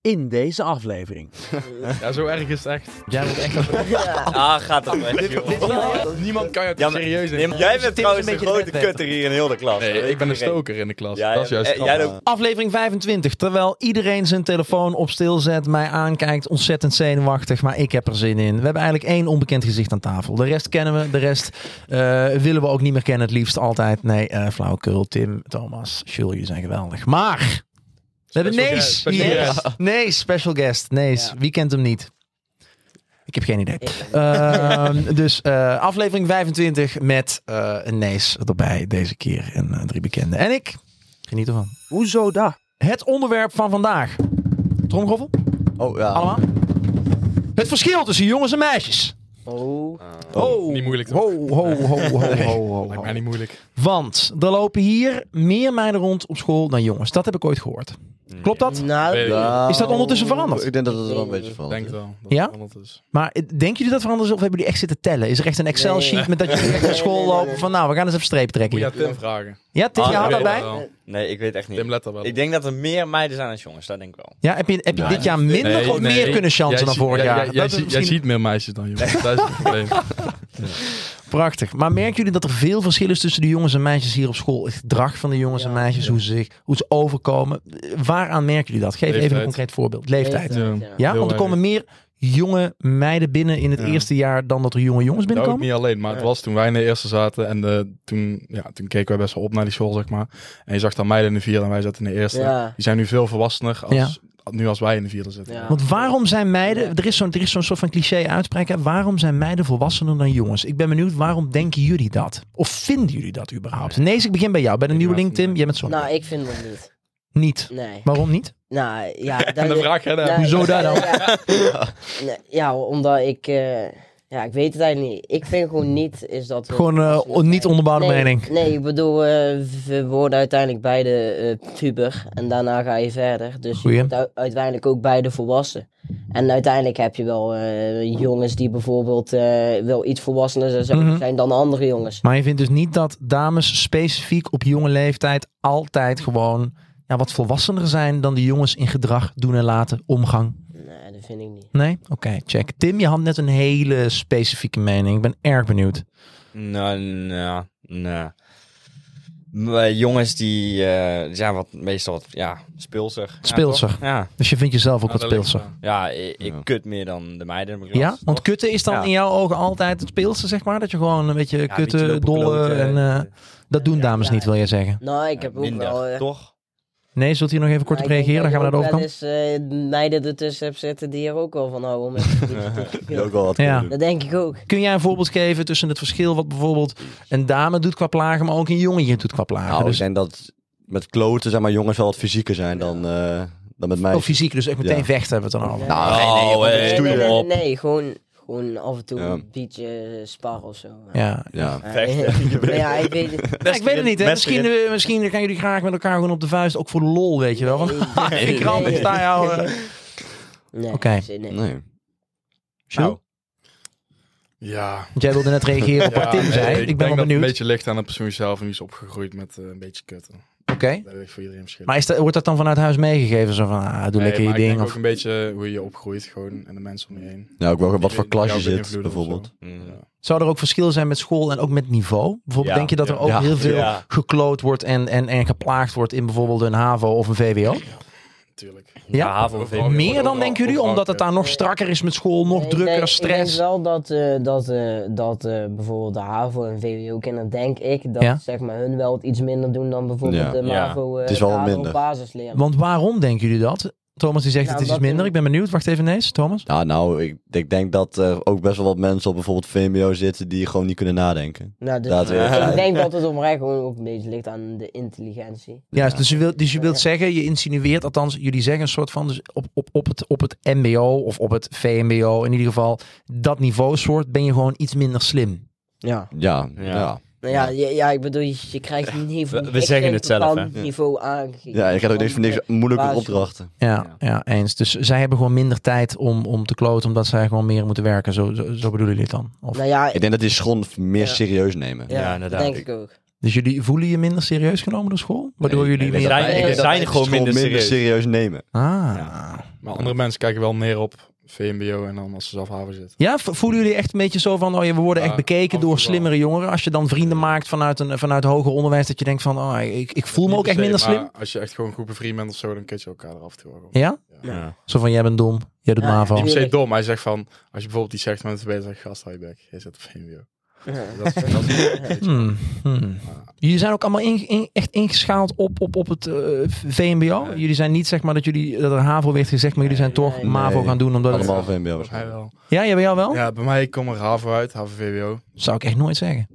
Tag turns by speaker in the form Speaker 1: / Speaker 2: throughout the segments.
Speaker 1: in deze aflevering.
Speaker 2: Ja, zo erg is het echt.
Speaker 3: Jij bent echt...
Speaker 4: Ah, gaat toch weg, joh.
Speaker 2: Niemand kan het
Speaker 4: Ja, maar-
Speaker 2: serieus
Speaker 4: Nee,
Speaker 2: nemen.
Speaker 4: maar jij
Speaker 3: Tim
Speaker 4: bent
Speaker 3: is
Speaker 4: trouwens
Speaker 3: een
Speaker 4: de
Speaker 3: beetje de
Speaker 4: grote
Speaker 3: bedweter.
Speaker 4: kutter hier in heel de klas. Dat
Speaker 2: Nee,
Speaker 4: weet
Speaker 2: ik ben de
Speaker 4: iedereen.
Speaker 2: stoker in de klas.
Speaker 4: Jij-
Speaker 2: dat is juist
Speaker 4: eh, jij
Speaker 2: grappig.
Speaker 4: ook.
Speaker 3: Aflevering 25. Terwijl iedereen zijn telefoon op stilzet, mij aankijkt, ontzettend zenuwachtig, maar ik heb er zin in. We hebben eigenlijk één onbekend gezicht aan tafel. De rest kennen we, de rest eh, willen we ook niet meer kennen, het liefst altijd. Nee, eh flauwekul, Tim, Thomas, Jules, jullie zijn geweldig. Maar, we hebben
Speaker 2: Special
Speaker 3: Nees.
Speaker 2: guest, special
Speaker 3: hier.
Speaker 2: guest.
Speaker 3: Nees, special guest. Nees,
Speaker 5: Ja.
Speaker 3: wie kent hem niet? Ik heb geen idee. Ehm, dus eh, aflevering 25 met eh, een Nees erbij deze keer. En eh, drie bekenden. En ik geniet ervan.
Speaker 1: Hoezo dat?
Speaker 3: Het onderwerp van vandaag. Tromgroffel,
Speaker 5: Oh ja.
Speaker 3: allemaal. Het verschil tussen jongens en meisjes.
Speaker 5: Oh.
Speaker 3: Oh,
Speaker 2: Niet moeilijk toch?
Speaker 3: Ho, ho, ho, ho, ho, ho,
Speaker 2: Lijkt
Speaker 3: ho.
Speaker 2: mij niet moeilijk.
Speaker 3: Want er lopen hier meer meiden rond op school dan jongens. Dat heb ik ooit gehoord. Klopt dat?
Speaker 5: Nou,
Speaker 2: Weet ik
Speaker 3: Is dat ondertussen veranderd?
Speaker 5: Ik denk dat het wel een beetje veranderd
Speaker 2: Denk
Speaker 5: is.
Speaker 2: wel. dat
Speaker 3: Ja?
Speaker 2: het veranderd is.
Speaker 3: Maar eh, denken jullie dat veranderen is of hebben jullie echt zitten tellen? Is er echt een Excel sheet met dat jullie echt naar school
Speaker 5: Nee, nee, nee,
Speaker 3: lopen van nou, we gaan eens even streep trekken.
Speaker 2: Moet je
Speaker 3: hier.
Speaker 2: aan Tim vragen.
Speaker 3: Ja, Tim,
Speaker 4: Ah,
Speaker 3: je
Speaker 4: ja,
Speaker 3: houdt
Speaker 4: weet ik
Speaker 3: daarbij.
Speaker 2: wel.
Speaker 4: Nee, ik weet echt niet.
Speaker 2: Tim let er wel
Speaker 4: Ik
Speaker 2: op.
Speaker 4: denk dat er meer meiden zijn dan jongens, dat denk ik wel.
Speaker 3: Ja, heb je, heb je
Speaker 5: Nee.
Speaker 3: dit jaar minder
Speaker 2: Nee,
Speaker 3: of
Speaker 2: nee.
Speaker 3: meer kunnen
Speaker 2: Jij
Speaker 3: chansen dan
Speaker 2: ziet-
Speaker 3: vorig
Speaker 2: jij-
Speaker 3: jaar?
Speaker 2: jij-
Speaker 3: Dat
Speaker 2: Jij
Speaker 3: is
Speaker 2: ziet- jij
Speaker 3: misschien-
Speaker 2: ziet meer meisjes dan jongens. Dat is het probleem.
Speaker 3: Prachtig. Maar merken jullie dat er veel verschil is tussen de jongens en meisjes hier op school? Het gedrag van de jongens en meisjes, hoe, ze zich, hoe ze overkomen. Eh, Waaraan merken jullie dat? Geef even
Speaker 2: Leeftijd.
Speaker 3: een concreet voorbeeld. Leeftijd.
Speaker 2: Ja.
Speaker 3: Ja,
Speaker 2: Heel
Speaker 3: want er komen meer jonge meiden binnen in het
Speaker 2: Ja.
Speaker 3: eerste jaar dan dat er jonge jongens
Speaker 2: Nou, ook
Speaker 3: binnenkomen.
Speaker 2: niet alleen, maar het was toen wij in de eerste zaten en eh, toen, ja, toen keken wij best wel op naar die school, zeg maar. En je zag dan meiden in de vierde en wij zaten in de eerste.
Speaker 5: Ja.
Speaker 2: Die zijn nu veel volwassener als,
Speaker 3: Ja.
Speaker 2: nu als wij in de vierde zitten.
Speaker 5: Ja.
Speaker 3: Want waarom zijn meiden, er is zo'n er is zo'n soort van cliché uitspraak, hè? waarom zijn meiden volwassener dan jongens? Ik ben benieuwd, waarom denken jullie dat? Of vinden jullie dat überhaupt? Nee, ik begin bij jou, bij de
Speaker 2: Ik
Speaker 3: nieuwe nieuweling
Speaker 2: laat het
Speaker 3: Tim, jij bent zo.
Speaker 5: Nou, ik vind dat niet.
Speaker 3: Niet.
Speaker 5: Nee.
Speaker 3: Waarom niet?
Speaker 5: Nou, ja. Nou,
Speaker 2: En de vraag, hè, dan-
Speaker 3: Hoezo daar dan?
Speaker 5: Ja, Nee, ja, omdat ik... eh, ja, ik weet het eigenlijk niet. Ik vind gewoon niet is dat... we-
Speaker 3: Gewoon eh,
Speaker 5: dat we-
Speaker 3: niet onderbouwde
Speaker 5: nee,
Speaker 3: mening.
Speaker 5: Nee, ik bedoel, eh, we worden uiteindelijk beide eh, puber en daarna ga je verder. Dus
Speaker 3: Goeie.
Speaker 5: je wordt u- uiteindelijk ook beide volwassen. En uiteindelijk heb je wel eh, jongens die bijvoorbeeld eh, wel iets volwassener zijn, zo-
Speaker 3: Mhm.
Speaker 5: zijn dan andere jongens.
Speaker 3: Maar je vindt dus niet dat dames specifiek op jonge leeftijd altijd gewoon ja, wat volwassener zijn dan de jongens in gedrag, doen en laten, omgang?
Speaker 5: Nee, dat vind ik niet.
Speaker 3: Nee? Oké, check. Tim, je had net een hele specifieke mening. Ik ben erg benieuwd.
Speaker 4: Nou, nou, nou. Maar Jongens die, eh, die zijn wat, meestal wat ja, speelser. Ja,
Speaker 3: Speelser.
Speaker 4: toch? Ja,
Speaker 3: Dus je vindt jezelf ook
Speaker 2: Nou,
Speaker 3: wat
Speaker 2: daar ligt
Speaker 3: speelser.
Speaker 2: het aan.
Speaker 4: ja ik, ik
Speaker 5: Ja.
Speaker 4: kut meer dan de meiden. in mijn klas,
Speaker 3: Ja? Want
Speaker 4: toch?
Speaker 3: kutten is dan
Speaker 4: Ja.
Speaker 3: in jouw ogen altijd het speelste, zeg maar? Dat je gewoon een beetje
Speaker 4: Ja, een beetje
Speaker 3: kutten,
Speaker 4: lopen
Speaker 3: dolle
Speaker 4: kloten,
Speaker 3: en... eh, dat doen
Speaker 5: Ja,
Speaker 3: dames
Speaker 5: ja.
Speaker 3: niet, wil jij zeggen.
Speaker 5: Nou, ik
Speaker 4: ja,
Speaker 5: heb ook
Speaker 4: minder,
Speaker 5: wel... eh,
Speaker 4: Toch?
Speaker 3: Nee, zult u nog even kort op
Speaker 5: Maar ik denk
Speaker 3: reageren? Dan gaan we naar de
Speaker 5: dat
Speaker 3: overkant.
Speaker 5: je ook wel eens, eh, meiden ertussen hebt zitten die er ook wel van houden. om met een liedje te Ja. doen. wel wat.
Speaker 3: Ja.
Speaker 5: Dat denk ik ook.
Speaker 3: Kun jij een voorbeeld geven tussen het verschil wat bijvoorbeeld een dame doet qua plagen, maar ook een jongetje doet qua plagen?
Speaker 4: Oh,
Speaker 6: Nou,
Speaker 3: dus,
Speaker 6: ik denk dat met kloten zeg maar jongens wel wat fysieker zijn dan, eh, dan met mij.
Speaker 3: Of fysiek, dus echt meteen
Speaker 6: Ja.
Speaker 3: vechten hebben we het dan over.
Speaker 5: Nou,
Speaker 4: nee, Oh, nee, joh,
Speaker 6: hey,
Speaker 4: dat
Speaker 5: Nee,
Speaker 4: doe
Speaker 5: nee,
Speaker 4: je
Speaker 5: nee,
Speaker 4: op.
Speaker 5: nee, nee, gewoon, gewoon af en toe
Speaker 6: Ja.
Speaker 5: een beetje eh, spar of zo.
Speaker 3: Ja.
Speaker 6: Ja.
Speaker 5: Eh,
Speaker 4: Vechten.
Speaker 5: maar ja, ik weet het.
Speaker 3: Ja, ik weet het niet, hè. Misschien, eh, misschien gaan jullie graag met elkaar gewoon op de vuist, ook voor de lol, weet je wel. Van,
Speaker 5: Nee.
Speaker 3: ik ramp, ik sta jou. eh.
Speaker 5: Nee,
Speaker 3: Oké.
Speaker 5: zin in.
Speaker 6: Nee.
Speaker 3: Sjoe,
Speaker 4: Nou,
Speaker 2: Ja.
Speaker 3: want jij wilde net reageren op wat Tim
Speaker 2: nee,
Speaker 3: zei. Ik, ben
Speaker 2: denk dat
Speaker 3: wel
Speaker 2: het een
Speaker 3: benieuwd.
Speaker 2: beetje ligt aan de persoon zelf en die is opgegroeid met eh, een beetje kutten.
Speaker 3: Oké.
Speaker 2: Dat ligt voor iedereen verschillend.
Speaker 3: Maar is dat, wordt dat dan vanuit huis meegegeven? Zo van, ah, doe
Speaker 2: Nee,
Speaker 3: lekker je
Speaker 2: maar ik
Speaker 3: ding.
Speaker 2: denk
Speaker 3: Of...
Speaker 2: ook een beetje hoe je opgroeit gewoon en de mensen om je heen.
Speaker 6: Nou, ook wel wat voor
Speaker 2: Die- die
Speaker 6: klas je
Speaker 2: jou
Speaker 6: zit,
Speaker 2: beïnvloeden of zo.
Speaker 6: bijvoorbeeld.
Speaker 4: mm.
Speaker 3: Zou er ook verschil zijn met school en ook met niveau? Bijvoorbeeld,
Speaker 4: Ja,
Speaker 3: denk je dat er
Speaker 2: ja.
Speaker 3: ook
Speaker 6: Ja.
Speaker 3: heel veel
Speaker 4: Ja.
Speaker 3: gekloot wordt en, en, en geplaagd wordt in bijvoorbeeld een HAVO of een VWO?
Speaker 2: Oh, Natuurlijk.
Speaker 3: Ja?
Speaker 4: HAVO,
Speaker 2: Overal-
Speaker 4: VWO.
Speaker 2: overal-
Speaker 3: Meer dan
Speaker 2: overal-
Speaker 3: denken jullie,
Speaker 2: overal
Speaker 3: omdat het daar nog strakker is met school, nog
Speaker 5: Nee,
Speaker 3: drukker,
Speaker 5: ik denk, Ik denk
Speaker 3: stress.
Speaker 5: wel dat, eh, dat, eh, dat eh, bijvoorbeeld de HAVO en VWO kinderen, denk ik, dat
Speaker 3: Ja.
Speaker 5: zeg maar, hun wel wat iets minder doen dan bijvoorbeeld
Speaker 6: Ja.
Speaker 5: de
Speaker 4: Ja.
Speaker 5: MAVO eh
Speaker 6: Het is wel
Speaker 5: de HAVO
Speaker 6: minder.
Speaker 5: basisleer.
Speaker 3: Want waarom denken jullie dat? Thomas die zegt
Speaker 5: Nou,
Speaker 3: het is iets
Speaker 5: omdat
Speaker 3: minder.
Speaker 5: in-
Speaker 3: Ik ben benieuwd. Wacht even, nee, Thomas.
Speaker 6: Ja, nou, ik, ik denk dat er ook best wel wat mensen op bijvoorbeeld VMBO zitten die gewoon niet kunnen nadenken.
Speaker 5: Nou, dus
Speaker 6: Laten we eerlijk
Speaker 5: ik
Speaker 6: zijn.
Speaker 5: denk dat het oprecht gewoon ook een beetje ligt aan de intelligentie.
Speaker 3: Ja, dus je wilt, dus je wilt zeggen, je insinueert, althans, jullie zeggen een soort van, dus op, op, op, het, op het MBO of op het VMBO, in ieder geval, dat niveausoort ben je gewoon iets minder slim.
Speaker 5: Ja.
Speaker 6: Ja,
Speaker 4: Ja.
Speaker 6: ja. ja.
Speaker 5: Nou ja, ja, ja, ik bedoel, je, je krijgt een niveau.
Speaker 4: We- we
Speaker 5: ik
Speaker 4: zeggen
Speaker 5: kreeg
Speaker 4: het zelf,
Speaker 5: een
Speaker 4: hè?
Speaker 5: bepaald niveau aangegeven.
Speaker 6: je krijgt ook niks voor niks moeilijke
Speaker 5: basis.
Speaker 6: opdrachten.
Speaker 3: Ja, ja. eens. Dus zij hebben gewoon minder tijd om, om te kloten, omdat zij gewoon meer moeten werken. Zo, zo, zo bedoelen jullie het dan? Of,
Speaker 5: Nou ja,
Speaker 6: Ik denk dat die school meer
Speaker 5: Ja.
Speaker 6: serieus nemen.
Speaker 5: ja,
Speaker 4: Ja,
Speaker 5: ja
Speaker 4: inderdaad.
Speaker 5: inderdaad. denk ik ook.
Speaker 3: Dus jullie voelen je minder serieus genomen door school? Waardoor
Speaker 6: Nee,
Speaker 3: jullie
Speaker 6: nee,
Speaker 3: meer...
Speaker 6: dat-
Speaker 4: zijn-
Speaker 6: ik denk
Speaker 4: zijn
Speaker 6: dat wij
Speaker 4: gewoon
Speaker 6: school
Speaker 4: minder serieus.
Speaker 6: nemen.
Speaker 3: Ah.
Speaker 2: Maar andere mensen kijken wel meer op VMBO en dan als ze zelf haven zitten.
Speaker 3: Ja, v- voelen jullie echt een beetje zo van, oh ja, we worden
Speaker 2: Ja,
Speaker 3: echt bekeken
Speaker 2: af en
Speaker 3: door
Speaker 2: toe
Speaker 3: slimmere jongeren. Als je dan vrienden maakt vanuit, een, vanuit hoger onderwijs, dat je denkt van, oh, ik, ik voel me
Speaker 2: Niet
Speaker 3: ook
Speaker 2: per
Speaker 3: echt
Speaker 2: se,
Speaker 3: minder
Speaker 2: maar
Speaker 3: slim.
Speaker 2: Als je echt gewoon goed bevriend bent of zo, dan kent je elkaar er af en toe wel gewoon.
Speaker 3: Ja?
Speaker 4: Ja.
Speaker 3: Zo van, jij bent dom, jij doet
Speaker 5: Ja,
Speaker 3: MAVO.
Speaker 2: Niet per se
Speaker 5: Tuurlijk.
Speaker 2: dom, hij zegt van, als je bijvoorbeeld die zegt met ben, zeg gast, hou je bek. Je zit op VMBO. Dat is, dat is-
Speaker 3: Hmm, hmm. Jullie zijn ook allemaal in- in- echt ingeschaald op, op, op het eh, VMBO?
Speaker 2: Nee.
Speaker 3: Jullie zijn niet zeg maar dat, jullie, dat er HAVO werd gezegd, maar jullie zijn toch
Speaker 5: Nee.
Speaker 3: MAVO gaan doen. Omdat het-
Speaker 6: Allemaal VMBO.
Speaker 2: Volgens mij wel.
Speaker 3: Ja, jij bij jou wel?
Speaker 2: Ja, bij mij komt er HAVO uit, HAVO-VWO.
Speaker 3: Zou ik echt nooit zeggen.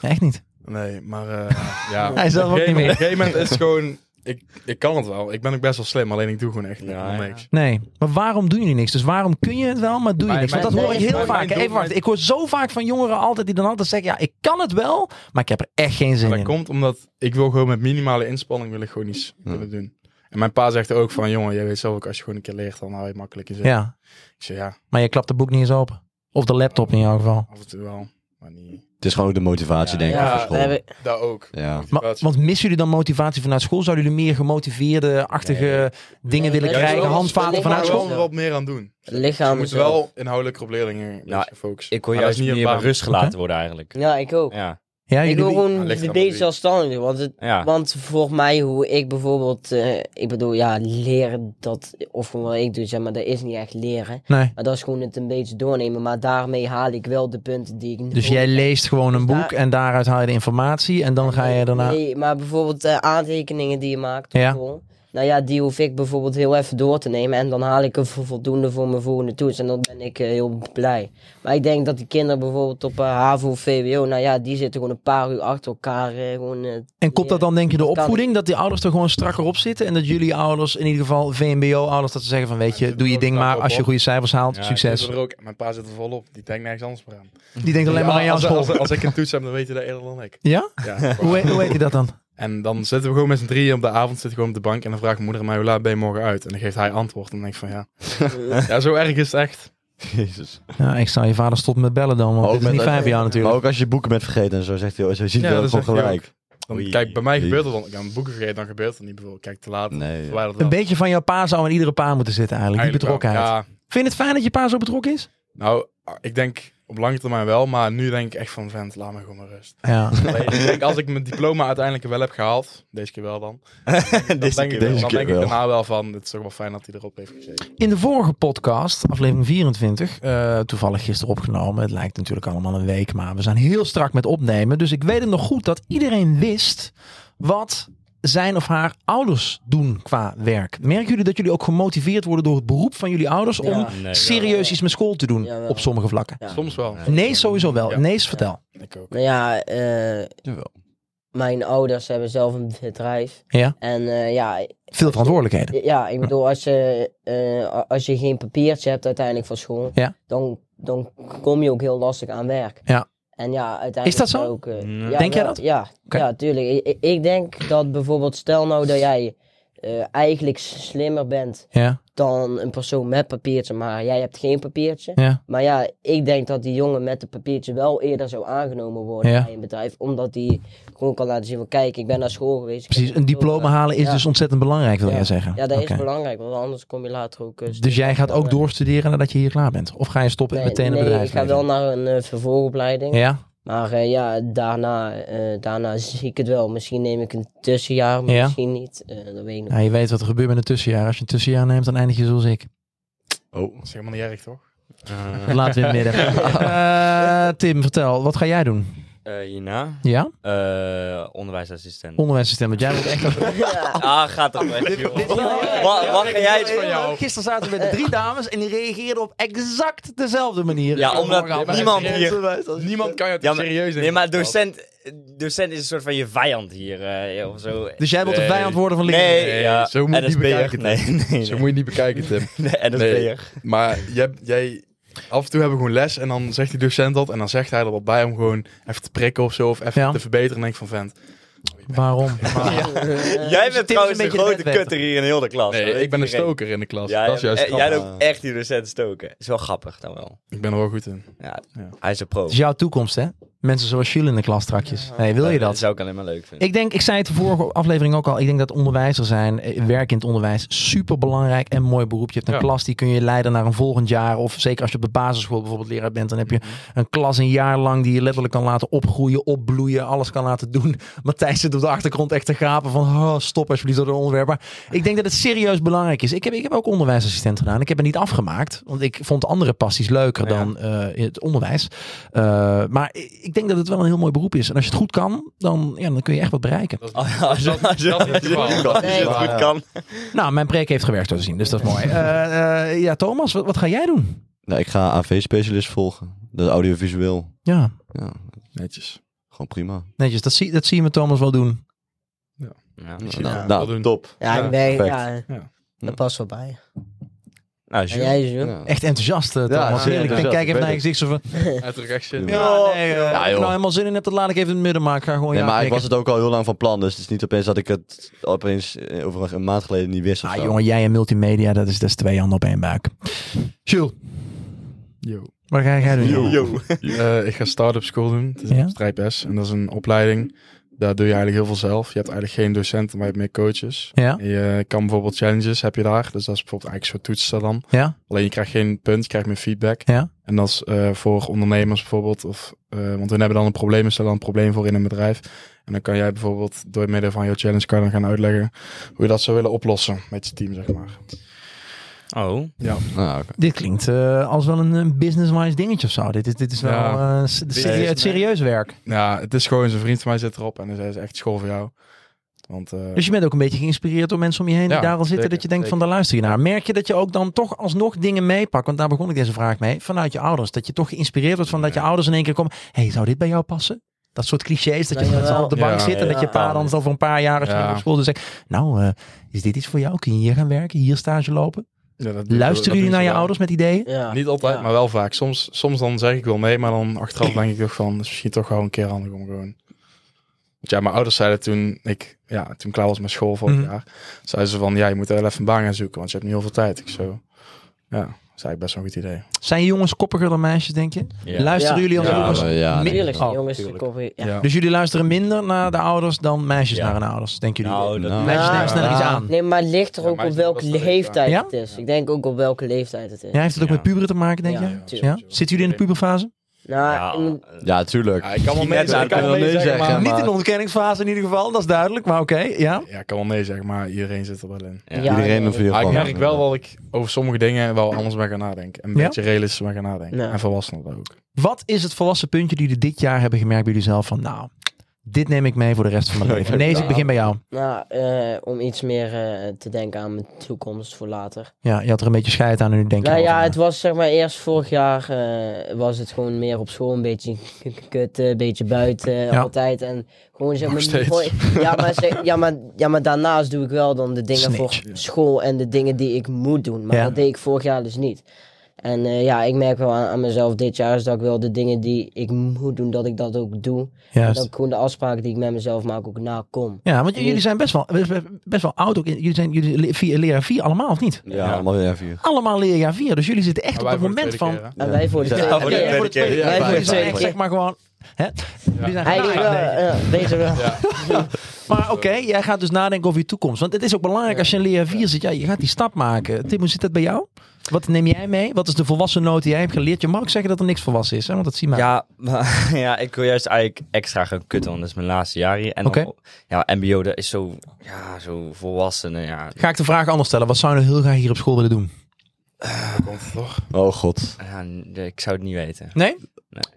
Speaker 3: echt niet.
Speaker 2: Nee, maar eh, ja.
Speaker 3: Hij zelf ook
Speaker 2: Op een
Speaker 3: niet
Speaker 2: gegeven-
Speaker 3: meer.
Speaker 2: Op een gegeven moment is het gewoon... Ik, ik kan het wel. Ik ben ook best wel slim, alleen ik doe gewoon echt
Speaker 4: Ja,
Speaker 2: helemaal
Speaker 4: ja.
Speaker 2: niks.
Speaker 3: Nee, maar waarom doen jullie niks? Dus waarom kun je het wel, maar doe je
Speaker 2: Mijn-
Speaker 3: niks? Want dat
Speaker 5: mijn-
Speaker 3: hoor ik
Speaker 5: mijn-
Speaker 3: heel
Speaker 2: mijn-
Speaker 3: vaak. hè.
Speaker 2: mijn-
Speaker 3: Even wachten, ik hoor zo vaak van jongeren altijd die dan altijd zeggen, ja, ik kan het wel, maar ik heb er echt geen zin
Speaker 2: Dat
Speaker 3: in.
Speaker 2: komt omdat ik wil gewoon met minimale inspanning wil ik gewoon iets willen doen. En mijn pa zegt ook van, jongen, jij weet zelf ook, als je gewoon een keer leert, dan hou je het makkelijk in zin.
Speaker 3: Ja,
Speaker 2: Ik zeg, ja,
Speaker 3: maar je klapt de boek niet eens open. Of de laptop in jouw geval.
Speaker 2: af en toe wel, maar niet...
Speaker 6: Het is gewoon ook de motivatie, denk ik,
Speaker 2: Ja,
Speaker 6: voor
Speaker 5: Ja,
Speaker 6: school.
Speaker 5: we hebben,
Speaker 2: Dat ook.
Speaker 6: Ja.
Speaker 3: Maar, want missen jullie dan motivatie vanuit school? Zouden jullie meer gemotiveerde-achtige dingen
Speaker 5: Nee,
Speaker 3: willen
Speaker 5: dat is
Speaker 3: krijgen?
Speaker 5: wel-
Speaker 3: Handvaten
Speaker 5: dat
Speaker 2: Maar
Speaker 5: ligt
Speaker 3: vanuit
Speaker 5: aan
Speaker 2: wel
Speaker 3: school?
Speaker 5: wel-
Speaker 2: wat meer aan doen. Je
Speaker 5: lichaam.
Speaker 2: moet
Speaker 5: is
Speaker 2: wel inhoudelijk op leerlingen
Speaker 4: Nou,
Speaker 2: focussen.
Speaker 4: Ik wil
Speaker 2: Maar dat
Speaker 4: juist
Speaker 2: is niet een
Speaker 4: niet meer
Speaker 2: baan.
Speaker 4: rust gelaten worden eigenlijk.
Speaker 5: Ja, ik ook.
Speaker 4: Ja.
Speaker 3: Ja,
Speaker 5: Ik
Speaker 3: jullie,
Speaker 5: wil
Speaker 2: Ja,
Speaker 5: gewoon
Speaker 2: ligt aan
Speaker 5: deze
Speaker 2: wie.
Speaker 5: zelfstandig doen. Want, het,
Speaker 4: Ja.
Speaker 5: want volgens mij hoe ik bijvoorbeeld... eh, ik bedoel, ja, leren dat... Of gewoon wat ik doe, zeg maar, dat is niet echt leren.
Speaker 3: nee.
Speaker 5: Maar dat is gewoon het een beetje doornemen. Maar daarmee haal ik wel de punten die ik...
Speaker 3: Dus jij leest gewoon een
Speaker 5: Dus
Speaker 3: boek en daaruit haal je de informatie en dan ga je daarna...
Speaker 5: Nee, maar bijvoorbeeld eh, aantekeningen die je maakt. op
Speaker 3: Ja.
Speaker 5: school. Nou ja, die hoef ik bijvoorbeeld heel even door te nemen. En dan haal ik er vo- voldoende voor mijn volgende toets. En dan ben ik eh, heel blij. Maar ik denk dat die kinderen bijvoorbeeld op eh, HAVO of VWO... Nou ja, die zitten gewoon een paar uur achter elkaar. eh, gewoon, eh,
Speaker 3: En komt dat dan denk je de
Speaker 5: Dat kan.
Speaker 3: opvoeding? Dat die ouders er gewoon strakker op zitten en dat jullie ouders, in ieder geval VMBO-ouders, dat ze zeggen van weet
Speaker 2: Ja,
Speaker 3: je,
Speaker 2: ze
Speaker 3: doe je
Speaker 2: doen
Speaker 3: ding
Speaker 2: ook
Speaker 3: maar
Speaker 2: knap op,
Speaker 3: als je
Speaker 2: hoor.
Speaker 3: goede cijfers haalt,
Speaker 2: Ja, ik
Speaker 3: succes.
Speaker 2: zit er ook. Mijn pa zit er volop. Die denkt nergens anders meer aan.
Speaker 3: Die denkt alleen
Speaker 2: Ja,
Speaker 3: maar aan jouw
Speaker 2: als,
Speaker 3: school.
Speaker 2: Als, als, ik een toets heb, dan weet je dat eerder dan ik.
Speaker 3: Ja?
Speaker 2: Ja.
Speaker 3: Hoe, he- hoe heet die dat dan?
Speaker 2: en dan zitten we gewoon met z'n drieën op de avond, zitten we gewoon op de bank. En dan vraagt mijn moeder aan mij, hoe laat ben je morgen uit? En dan geeft hij antwoord. En dan denk ik van, ja, ja zo erg is het echt.
Speaker 6: Jezus.
Speaker 3: Ja, ik zou je vader stoppen met bellen dan, want
Speaker 6: Ook
Speaker 3: dit is
Speaker 6: met-
Speaker 3: niet fijn voor jou
Speaker 6: Maar
Speaker 3: natuurlijk.
Speaker 6: ook als je boeken bent vergeten en zo, zegt hij, oh, zo ziet hij
Speaker 2: Ja,
Speaker 6: dat
Speaker 2: dat
Speaker 6: ook
Speaker 2: zegt hij
Speaker 6: gelijk.
Speaker 2: Dan,
Speaker 6: Oei.
Speaker 2: kijk, bij mij
Speaker 6: Jezus.
Speaker 2: gebeurt dat dan. Ik heb een boek gegeven, dan gebeurt dat niet. Bijvoorbeeld, kijk, te laat.
Speaker 6: Nee, ja.
Speaker 2: verwijder dat
Speaker 3: Een
Speaker 2: wel.
Speaker 3: beetje van jouw pa zou in iedere pa moeten zitten eigenlijk, die
Speaker 2: Eigenlijk wel.
Speaker 3: betrokkenheid.
Speaker 2: Ja,
Speaker 3: Vind je het fijn dat je pa zo betrokken is?
Speaker 2: Nou, ik denk op lange termijn wel, maar nu denk ik echt van vent, laat me gewoon maar rust.
Speaker 3: Ja.
Speaker 2: Alleen, ik denk als ik mijn diploma uiteindelijk wel heb gehaald, deze keer wel dan, dan
Speaker 4: Deze
Speaker 2: denk, ik,
Speaker 6: keer wel.
Speaker 2: dan denk ik
Speaker 6: Deze keer
Speaker 2: daarna wel van, het is toch wel fijn dat hij erop heeft gezeten.
Speaker 3: In de vorige podcast, aflevering 24, eh, toevallig gisteren opgenomen. Het lijkt natuurlijk allemaal een week, maar we zijn heel strak met opnemen. Dus ik weet het nog goed dat iedereen wist wat zijn of haar ouders doen qua werk. Merken jullie dat jullie ook gemotiveerd worden door het beroep van jullie ouders om
Speaker 5: Ja.
Speaker 4: Nee,
Speaker 3: serieus iets met school te doen
Speaker 5: Jawel.
Speaker 3: op sommige vlakken?
Speaker 5: Ja.
Speaker 2: Soms wel.
Speaker 4: Ja.
Speaker 3: Nee, sowieso wel.
Speaker 2: Ja.
Speaker 3: Nee, vertel.
Speaker 2: Ik ook.
Speaker 5: Nou ja, eh,
Speaker 6: Jawel.
Speaker 5: mijn ouders hebben zelf een bedrijf.
Speaker 3: Ja.
Speaker 5: En eh, ja,
Speaker 3: Veel verantwoordelijkheden.
Speaker 5: ja, ik bedoel, als je, eh, als je geen papiertje hebt uiteindelijk van school,
Speaker 3: Ja.
Speaker 5: dan, dan kom je ook heel lastig aan werk.
Speaker 3: Ja.
Speaker 5: En ja, uiteindelijk
Speaker 3: Is dat zo?
Speaker 5: Ook, eh,
Speaker 4: Nee.
Speaker 5: ja,
Speaker 3: Denk jij
Speaker 5: wel,
Speaker 3: dat?
Speaker 5: Ja,
Speaker 3: Oké.
Speaker 5: ja tuurlijk. Ik- Ik, ik denk dat bijvoorbeeld, stel nou dat jij eh, eigenlijk slimmer bent
Speaker 3: Ja,
Speaker 5: dan een persoon met papiertje, maar jij hebt geen papiertje.
Speaker 3: ja.
Speaker 5: Maar ja, ik denk dat die jongen met het papiertje wel eerder zou aangenomen worden
Speaker 3: Ja.
Speaker 5: bij een bedrijf. Omdat die gewoon kan laten zien van kijk, ik ben naar school geweest. ik
Speaker 3: Precies.
Speaker 5: heb
Speaker 3: Een diploma halen is
Speaker 5: Ja.
Speaker 3: dus ontzettend belangrijk, wil jij zeggen.
Speaker 5: Ja, dat
Speaker 3: Oké.
Speaker 5: is belangrijk, want anders kom je later ook... eh,
Speaker 3: Dus jij gaat ook
Speaker 5: sneller.
Speaker 3: doorstuderen nadat je hier klaar bent? Of ga je stoppen en
Speaker 5: Nee,
Speaker 3: meteen een
Speaker 5: nee,
Speaker 3: bedrijf?
Speaker 5: ik ga wel naar een eh, vervolgopleiding.
Speaker 3: Ja?
Speaker 5: Maar eh, ja, daarna, eh, daarna zie ik het wel. Misschien neem ik een tussenjaar, maar
Speaker 3: Ja.
Speaker 5: misschien niet. Eh, dat weet ik nog.
Speaker 3: Ja, Nou, je weet wat er gebeurt met een tussenjaar. Als je een tussenjaar neemt, dan eindig je zoals ik.
Speaker 6: Oh.
Speaker 2: Dat is helemaal niet erg, toch?
Speaker 4: Eh,
Speaker 3: Laat weer midden. Eh, Tim, vertel, wat ga jij doen?
Speaker 4: eh, hierna,
Speaker 3: Ja?
Speaker 4: eh, onderwijsassistent.
Speaker 3: Onderwijsassistent, want jij wordt echt...
Speaker 4: ah, gaat dat weg, joh. Wat, wat ga jij iets van jou?
Speaker 3: Gisteren zaten we met drie dames en die reageerden op exact dezelfde manier.
Speaker 4: Ja, omdat niemand hier...
Speaker 2: Niemand kan je het
Speaker 4: Ja, maar-
Speaker 2: serieus nemen.
Speaker 4: Nee, maar docent, docent is een soort van je vijand hier, eh, of zo.
Speaker 3: Dus jij wilt de
Speaker 2: Nee.
Speaker 3: vijand worden van leerlingen?
Speaker 4: Nee,
Speaker 2: Nee,
Speaker 4: ja.
Speaker 2: zo moet je niet
Speaker 4: NSB'er.
Speaker 2: bekijken.
Speaker 4: Nee, nee,
Speaker 2: Zo
Speaker 4: nee.
Speaker 2: moet je niet bekijken, Tim.
Speaker 4: nee NSB'er.
Speaker 2: Maar jij, jij, af en toe hebben we gewoon les en dan zegt die docent dat en dan zegt hij er wat bij om gewoon even te prikken of zo of even
Speaker 3: Ja.
Speaker 2: te verbeteren. En denk ik van vent,
Speaker 3: Waarom?
Speaker 5: Eh,
Speaker 2: Eh, dus
Speaker 4: Jij bent
Speaker 3: een
Speaker 4: trouwens een
Speaker 3: beetje de
Speaker 4: grote
Speaker 3: bedwetter.
Speaker 4: kutter hier in heel de klas.
Speaker 2: nee,
Speaker 4: hoor.
Speaker 2: ik ben een
Speaker 4: Iedereen.
Speaker 2: stoker in de klas.
Speaker 4: Ja,
Speaker 2: dat is
Speaker 4: jij-
Speaker 2: juist
Speaker 4: eh, jij
Speaker 2: grappig.
Speaker 4: loopt echt die docent stoken. Is wel grappig dan wel.
Speaker 2: Ik ben er wel goed in.
Speaker 4: Ja,
Speaker 2: Ja.
Speaker 4: Hij is een pro.
Speaker 3: Dat is jouw toekomst, hè? Mensen zoals jullie in de klas strakjes. Nee, wil je dat?
Speaker 4: zou ik alleen maar leuk vinden.
Speaker 3: Ik denk, ik zei het de vorige aflevering ook al. Ik denk dat onderwijzer zijn, eh, werk in het onderwijs, super belangrijk en mooi beroep. Je hebt een
Speaker 2: Ja.
Speaker 3: klas die kun je leiden naar een volgend jaar. Of zeker als je op de basisschool bijvoorbeeld leraar bent, dan heb je een klas een jaar lang die je letterlijk kan laten opgroeien, opbloeien, alles kan laten doen. Matthijs zit op de achtergrond echt te gapen van oh, stop alsjeblieft door de onderwerp. Maar ik denk dat het serieus belangrijk is. Ik heb, ik heb ook onderwijsassistent gedaan. Ik heb het niet afgemaakt, want ik vond andere passies leuker
Speaker 2: Ja.
Speaker 3: dan eh, het onderwijs. Eh, maar ik ik denk dat het wel een heel mooi beroep is. En als je het goed kan, dan, ja, dan kun je echt wat bereiken.
Speaker 2: Dat is
Speaker 4: Oh, ja, als je-
Speaker 2: dat- dat is het geval.
Speaker 4: Als je het
Speaker 6: Ja.
Speaker 4: goed kan.
Speaker 3: Nou, mijn preek heeft gewerkt, zo te zien. Dus dat is mooi. Eh, eh, ja, Thomas, wat, wat ga jij doen?
Speaker 6: Nou, ik ga AV-specialist volgen. Dat is audiovisueel.
Speaker 3: Ja,
Speaker 6: Ja,
Speaker 2: Netjes.
Speaker 6: gewoon prima.
Speaker 3: netjes. Dat, zie, dat zien we Thomas wel doen.
Speaker 4: Ja.
Speaker 6: Nou,
Speaker 2: zie
Speaker 6: nou,
Speaker 2: het wel
Speaker 6: nou,
Speaker 2: doen.
Speaker 6: top.
Speaker 5: Ja,
Speaker 2: Ja,
Speaker 5: ik ben, ja,
Speaker 6: perfect.
Speaker 2: Ja.
Speaker 5: dat past wel bij.
Speaker 4: Nou,
Speaker 5: En
Speaker 4: Jules.
Speaker 5: jij, Jules?
Speaker 6: Ja.
Speaker 3: Echt enthousiast, eh, Thomas.
Speaker 2: ja,
Speaker 3: Heerlijk. Ik denk,
Speaker 6: enthousiast,
Speaker 3: kijk even
Speaker 6: ik
Speaker 3: naar je
Speaker 6: weet
Speaker 3: gezicht zo van...
Speaker 2: Uitdruk echt shit.
Speaker 6: Ja.
Speaker 3: Ja, nee, eh,
Speaker 6: Ja,
Speaker 3: als ik
Speaker 6: joh.
Speaker 3: nou helemaal zin in hebt, dat laat ik even in het midden. Maar ik ga gewoon... oh
Speaker 6: Nee,
Speaker 3: ja,
Speaker 6: maar ik
Speaker 3: knikken.
Speaker 6: was het ook al heel lang van plan. Dus het is niet opeens dat ik het opeens eh, over een- een maand geleden niet wist. Of
Speaker 3: Ah,
Speaker 6: zo.
Speaker 3: jongen, jij en multimedia, dat is, dat is twee handen op één buik. Jules,
Speaker 2: Yo.
Speaker 3: wat ga jij doen? joh?
Speaker 2: Eh, ik ga start-up school doen. Het is
Speaker 3: Ja?
Speaker 2: een Strijd S. En dat is een opleiding. Daar doe je eigenlijk heel veel zelf. Je hebt eigenlijk geen docenten, maar je hebt meer coaches.
Speaker 3: Ja?
Speaker 2: En Je kan bijvoorbeeld challenges heb je daar. Dus dat is bijvoorbeeld eigenlijk zo'n toetsen dan.
Speaker 3: Ja?
Speaker 2: Alleen je krijgt geen punt, je krijgt meer feedback.
Speaker 3: Ja?
Speaker 2: En dat is eh, voor ondernemers bijvoorbeeld. Of, eh, want hun hebben dan een probleem, en stellen dan een probleem voor in een bedrijf. En dan kan jij bijvoorbeeld door middel van jouw challenge kan je dan gaan uitleggen hoe je dat zou willen oplossen met je team, zeg maar.
Speaker 4: Oh.
Speaker 6: Nou, oké.
Speaker 3: Dit klinkt eh, als wel een, een business-wise dingetje of zo. Dit is, dit is wel
Speaker 2: Ja.
Speaker 3: eh, s- de serie-
Speaker 2: Nee.
Speaker 3: het serieus werk.
Speaker 2: Ja, het is gewoon zijn vriend van mij zit erop en hij zei, "Het is echt school voor jou. Want eh,
Speaker 3: Dus je bent ook een beetje geïnspireerd door mensen om je heen die
Speaker 2: Ja,
Speaker 3: daar al zitten.
Speaker 2: zeker,
Speaker 3: dat je denkt van daar luister je naar. Merk je dat je ook dan toch alsnog dingen meepakt? Want daar begon ik deze vraag mee. Vanuit je ouders. Dat je toch geïnspireerd wordt van dat je ouders in één keer komen. Hé, hey, zou dit bij jou passen? Dat soort clichés dat je
Speaker 5: Nou,
Speaker 3: met z'n allen op de
Speaker 2: jawel.
Speaker 3: bank
Speaker 2: Ja,
Speaker 3: zit. En
Speaker 5: ja,
Speaker 3: dat je
Speaker 5: ja.
Speaker 3: pa dan over een paar jaar als je
Speaker 2: Ja.
Speaker 3: terug op school zegt. Nou, eh, is dit iets voor jou? Kun je hier gaan werken? Hier stage lopen?
Speaker 2: ja, dat- dat doen
Speaker 3: Luisteren
Speaker 2: ze
Speaker 3: jullie naar je
Speaker 2: wel.
Speaker 3: ouders met ideeën?
Speaker 5: Ja.
Speaker 2: Niet altijd,
Speaker 5: Ja.
Speaker 2: maar wel vaak. Soms, soms dan zeg ik wel mee, maar dan achteraf denk ik toch van, het is misschien toch wel een keer handig om gewoon. Want ja, mijn ouders zeiden toen ik, ja, toen ik klaar was met school vorig
Speaker 3: Mhm.
Speaker 2: jaar, zeiden ze van, ja, je moet wel even een baan gaan zoeken, want je hebt niet heel veel tijd. Ik zo, ja, dat is eigenlijk best wel een goed idee.
Speaker 3: Zijn jongens koppiger dan meisjes, denk je?
Speaker 4: Ja.
Speaker 3: Luisteren
Speaker 5: Ja.
Speaker 3: jullie als
Speaker 6: Ja,
Speaker 3: jongens?
Speaker 6: ah, maar ja,
Speaker 3: mi-
Speaker 5: Tuurlijk,
Speaker 3: Oh,
Speaker 5: jongens.
Speaker 2: tuurlijk.
Speaker 5: kom weer- ja.
Speaker 2: Ja.
Speaker 3: Dus jullie luisteren minder naar de ouders dan meisjes
Speaker 4: Ja.
Speaker 3: naar hun ouders, denken jullie?
Speaker 4: Nou, dat
Speaker 6: Nou.
Speaker 4: lijkt-
Speaker 3: meisjes nemen sneller
Speaker 6: Ja.
Speaker 3: iets aan.
Speaker 5: Nee, maar het ligt er
Speaker 2: Ja,
Speaker 5: ook
Speaker 2: maar
Speaker 5: op
Speaker 2: is het
Speaker 5: welke
Speaker 2: wel steeds
Speaker 5: leeftijd
Speaker 3: waar.
Speaker 5: het is. Ik denk ook op welke leeftijd het is.
Speaker 3: Jij heeft het ook
Speaker 4: Ja.
Speaker 3: met puberen te maken, denk
Speaker 5: Ja,
Speaker 3: je?
Speaker 5: ja,
Speaker 3: Ja?
Speaker 2: sowieso.
Speaker 3: Zitten jullie in de puberfase?
Speaker 5: Nou, in-
Speaker 6: ja, tuurlijk.
Speaker 2: Ja, ik kan wel
Speaker 4: Net
Speaker 2: mee
Speaker 4: zou
Speaker 2: zeggen,
Speaker 4: ik wel
Speaker 6: nee zeggen,
Speaker 2: maar...
Speaker 6: maar-
Speaker 3: Niet in de ontkenningsfase in ieder geval, dat is duidelijk. Maar oké, ja.
Speaker 2: Ja, ik kan wel nee zeggen, maar iedereen zit er wel in.
Speaker 4: Ja.
Speaker 5: Ja.
Speaker 6: Iedereen
Speaker 5: nee,
Speaker 6: of je
Speaker 2: Maar Ah, ik
Speaker 6: gewoon.
Speaker 2: merk wel dat ik over sommige dingen wel anders ben gaan nadenken. En een
Speaker 3: Ja?
Speaker 2: beetje realistischer ben gaan nadenken.
Speaker 5: Ja.
Speaker 2: En volwassenen ook.
Speaker 3: Wat is het volwassen puntje die jullie dit jaar hebben gemerkt bij jullie zelf? Van nou, dit neem ik mee voor de rest van mijn leven. Nee, dus ik begin bij jou.
Speaker 5: nou, eh, om iets meer eh, te denken aan mijn toekomst voor later.
Speaker 3: Ja, je had er een beetje scheid aan en nu denk je
Speaker 5: Nou
Speaker 3: wel
Speaker 5: ja,
Speaker 3: van,
Speaker 5: het was zeg maar eerst vorig jaar eh, was het gewoon meer op school een beetje k- k- kut, eh, een beetje buiten eh,
Speaker 3: Ja.
Speaker 5: altijd en gewoon zeg
Speaker 2: Nog
Speaker 5: maar niet
Speaker 2: steeds.
Speaker 5: mooi- ja, maar zeg- ja, maar ja, maar daarnaast doe ik wel dan de dingen
Speaker 3: Snitch.
Speaker 5: voor school en de dingen die ik moet doen, maar
Speaker 3: Ja.
Speaker 5: dat deed ik vorig jaar dus niet. En eh, ja, ik merk wel aan, aan mezelf dit jaar is dat ik wel de dingen die ik moet doen, dat ik dat ook doe. En
Speaker 3: Juist.
Speaker 5: dat ik gewoon de afspraken die ik met mezelf maak ook nakom.
Speaker 3: Ja, want j- jullie zijn best wel, best, best wel oud. Ook. Jullie zijn jullie le- vier, leraar vier allemaal, of niet?
Speaker 6: Ja, allemaal weer vier.
Speaker 3: Allemaal leraar vier. Dus jullie zitten echt
Speaker 2: Maar
Speaker 3: op
Speaker 2: wij
Speaker 3: het
Speaker 2: voor de
Speaker 3: moment
Speaker 2: tweede
Speaker 3: van...
Speaker 2: keer, hè?
Speaker 5: En wij voor de
Speaker 6: Ja,
Speaker 5: tweede
Speaker 6: voor de
Speaker 5: keer.
Speaker 3: Ja, voor de tweede
Speaker 5: Ja,
Speaker 3: keer.
Speaker 5: voor de
Speaker 3: Jullie zijn
Speaker 5: tweede
Speaker 3: echt,
Speaker 5: keer.
Speaker 3: zeg maar gewoon... Hè? Jullie zijn gaan
Speaker 5: Eigenlijk wel,
Speaker 3: nadenken.
Speaker 5: ja, beter wel.
Speaker 3: Maar oké, jij gaat dus nadenken over je toekomst. Want het is ook belangrijk als je in leraar 4 zit. Ja, je gaat die stap maken. Tim, hoe zit dat bij jou? Wat neem jij mee? Wat is de volwassen noot die jij hebt geleerd? Je mag ook zeggen dat er niks volwassen is, hè? want dat zien we.
Speaker 4: Ja, maar- ja, ik wil juist eigenlijk extra gaan kutten, want dat is mijn laatste jaar hier. En dan-
Speaker 3: Oké.
Speaker 4: ja, MBO, dat is zo, ja, zo volwassenen, ja.
Speaker 3: Ga ik de vraag anders stellen. Wat zou je nou heel graag hier op school willen doen?
Speaker 2: Komt het toch?
Speaker 6: Oh god.
Speaker 4: ja. n- Ik zou het niet weten.
Speaker 3: Nee?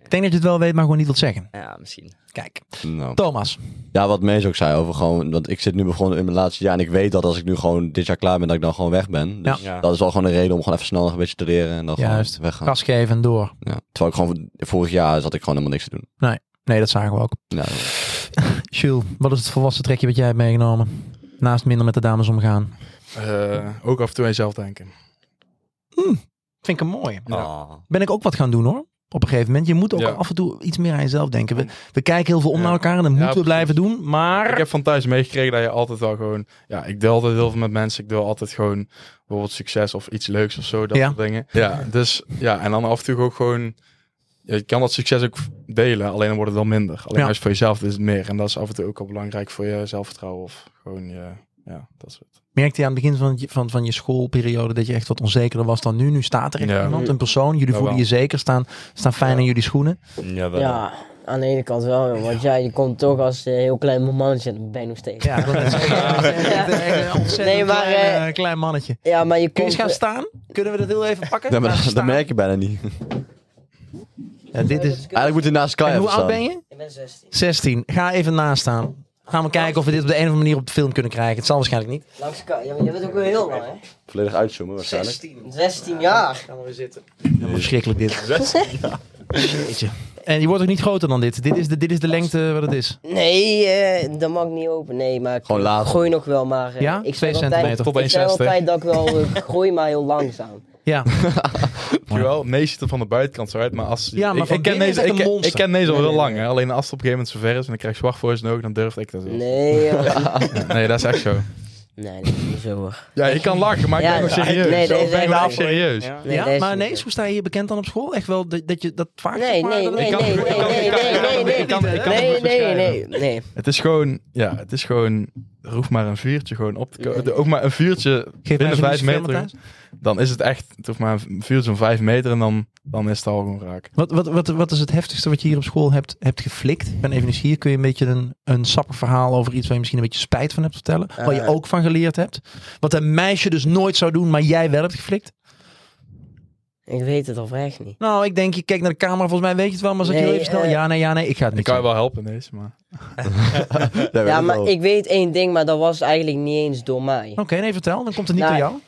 Speaker 3: Ik denk dat je het wel weet, maar gewoon niet wilt zeggen.
Speaker 4: Ja, misschien.
Speaker 3: Kijk,
Speaker 6: Nou.
Speaker 3: Thomas.
Speaker 6: Ja, wat Mees ook zei over gewoon, want ik zit nu begonnen in mijn laatste jaar en ik weet dat als ik nu gewoon dit jaar klaar ben, dat ik dan gewoon weg ben. Dus
Speaker 4: Ja.
Speaker 6: dat is wel gewoon een reden om gewoon even snel nog een beetje te leren en dan
Speaker 3: Juist.
Speaker 6: gewoon weggaan.
Speaker 3: Gas geven en door.
Speaker 6: Ja. Terwijl ik gewoon vorig jaar zat ik gewoon helemaal niks te doen.
Speaker 3: Nee, dat zagen we ook.
Speaker 6: Ja.
Speaker 3: Jules, wat is het volwassen trekje wat jij hebt meegenomen? Naast minder met de dames omgaan.
Speaker 2: Eh, ook af en toe aan jezelf denken.
Speaker 3: Vind ik hem mooi.
Speaker 2: Ja.
Speaker 4: Oh.
Speaker 3: ben ik ook wat gaan doen hoor. Op een gegeven moment. Je moet ook
Speaker 2: Ja.
Speaker 3: af en toe iets meer aan jezelf denken. We, we kijken heel veel om
Speaker 2: Ja.
Speaker 3: naar elkaar en dat moeten we
Speaker 2: precies.
Speaker 3: blijven doen. Maar
Speaker 2: Ik heb van thuis meegekregen dat je altijd wel gewoon... Ja, ik deel altijd heel veel met mensen. Ik deel altijd gewoon bijvoorbeeld succes of iets leuks of zo. Dat
Speaker 3: Ja.
Speaker 2: soort dingen. Ja, dus ja, en dan af en toe ook gewoon je kan dat succes ook delen, alleen dan wordt het dan minder. Alleen
Speaker 3: Ja.
Speaker 2: als je voor jezelf is het meer. En dat is af en toe ook al belangrijk voor je zelfvertrouwen of gewoon je, ja, dat soort.
Speaker 3: Merkte je aan het begin van, je- van, van je schoolperiode dat je echt wat onzekerder was dan nu? Nu staat er echt
Speaker 2: Ja.
Speaker 3: iemand, een persoon. Jullie
Speaker 2: Ja,
Speaker 3: voelen
Speaker 2: wel.
Speaker 3: je zeker, staan, staan fijn in jullie schoenen.
Speaker 4: Ja, wel.
Speaker 5: Ja, aan de ene kant wel, joh, want ja, je komt toch als eh, heel klein momentje, dat ben je nog steeds. Ja,
Speaker 3: Ja, dat is echt- dat is echt een ontzettend
Speaker 5: Nee, maar,
Speaker 3: klein,
Speaker 5: eh,
Speaker 3: eh, klein mannetje.
Speaker 5: maar je
Speaker 3: Kun je
Speaker 5: komt...
Speaker 3: eens gaan staan? Kunnen we dat heel even pakken?
Speaker 6: Ja, maar
Speaker 3: Laten
Speaker 6: dat, dat
Speaker 3: staan.
Speaker 6: merk je bijna niet.
Speaker 3: Ja, dit is...
Speaker 6: Eigenlijk moet je naast Sky
Speaker 3: En hoe
Speaker 6: even
Speaker 3: oud
Speaker 6: staan.
Speaker 3: ben je?
Speaker 5: Ik ben 16.
Speaker 3: 16. Ga even naast staan. Gaan we kijken of we dit op de een of andere manier op de film kunnen krijgen. Het zal waarschijnlijk niet.
Speaker 5: Langs elkaar. Ja, maar je bent ook wel heel lang, hè?
Speaker 6: Volledig uitzoomen waarschijnlijk.
Speaker 5: 16 jaar.
Speaker 3: Gaan we weer zitten. Verschrikkelijk dit. Jeetje. En je wordt ook niet groter dan dit. Dit is de, dit is de lengte wat het is.
Speaker 5: Nee, eh, dat mag ik niet open. Nee, maar ik
Speaker 6: Gewoon later.
Speaker 5: groei nog wel, maar... eh,
Speaker 3: Ja?
Speaker 5: ik
Speaker 3: Twee
Speaker 5: zeg
Speaker 3: centimeter.
Speaker 2: Tot
Speaker 5: Altijd, ik zeg
Speaker 2: 1,60.
Speaker 5: altijd dat ik wel eh, groei, maar heel langzaam.
Speaker 3: Ja.
Speaker 2: Jawel, nee ziet er van de buitenkant zo uit, maar als...
Speaker 3: Ja, maar
Speaker 2: ik,
Speaker 3: van
Speaker 2: ik ken
Speaker 3: binnen is
Speaker 2: deze,
Speaker 3: het
Speaker 2: ik,
Speaker 3: een
Speaker 2: ken-
Speaker 3: monster.
Speaker 2: ik ken deze al heel lang, hè. Alleen als het op een gegeven moment zover is en dan krijg je zwart voor zijn ogen, dan durf ik dat niet.
Speaker 5: Nee, joh.
Speaker 2: Nee, dat is echt zo.
Speaker 5: nee, dat is niet zo hoor.
Speaker 2: Ja, je kan lachen, maar ik
Speaker 5: Ja,
Speaker 2: ben nog
Speaker 5: ja,
Speaker 2: serieus.
Speaker 5: nee, nee,
Speaker 2: ik ben
Speaker 5: nee,
Speaker 2: nog
Speaker 5: nee.
Speaker 2: serieus.
Speaker 5: Nee, dat
Speaker 3: ja?
Speaker 5: is
Speaker 3: Maar
Speaker 5: niet
Speaker 3: nee,
Speaker 5: zo.
Speaker 3: hoe sta je hier bekend dan op school? Echt wel dat, dat je dat vaak
Speaker 5: Nee,
Speaker 3: maar
Speaker 5: nee,
Speaker 3: dat-
Speaker 5: nee,
Speaker 2: kan-
Speaker 5: nee,
Speaker 2: ik
Speaker 5: nee,
Speaker 2: kan-
Speaker 5: nee,
Speaker 2: ik kan-
Speaker 5: nee,
Speaker 2: ik kan- ik kan-
Speaker 5: nee,
Speaker 2: ik kan-
Speaker 5: nee,
Speaker 2: ik kan-
Speaker 5: nee, nee, nee.
Speaker 2: Het is gewoon, ja, het is gewoon, er hoeft maar een vuurtje gewoon op te komen. Ook maar een vuurtje
Speaker 3: Geef mij
Speaker 2: binnen
Speaker 3: zo'n
Speaker 2: vijf
Speaker 3: film,
Speaker 2: meter.
Speaker 3: Matthijs.
Speaker 2: Dan is het echt, het hoeft maar een vuurtje van vijf meter en dan, dan is het al gewoon raak.
Speaker 3: Wat, wat, wat, wat is het heftigste wat je hier op school hebt, hebt geflikt? Ik ben even eens hier. Kun je een beetje een, een sappig verhaal over iets waar je misschien een beetje spijt van hebt vertellen? Waar je
Speaker 5: Eh.
Speaker 3: ook van geleerd hebt? Wat een meisje dus nooit zou doen, maar jij wel hebt geflikt?
Speaker 5: Ik weet het oprecht niet.
Speaker 3: Nou, ik denk, je kijkt naar de camera. Volgens mij weet je het wel, maar zeg je
Speaker 5: Nee,
Speaker 3: heel even snel.
Speaker 5: eh,
Speaker 3: ja, nee, ja, nee. Ik ga het
Speaker 2: Ik
Speaker 3: niet
Speaker 2: kan je
Speaker 3: doen.
Speaker 2: wel helpen in deze, maar
Speaker 6: Daar weet
Speaker 5: Ja, maar
Speaker 6: wel.
Speaker 5: ik weet één ding, maar dat was eigenlijk niet eens door mij.
Speaker 3: Oké, nee, vertel. Dan komt het niet
Speaker 5: Nou,
Speaker 3: door jou.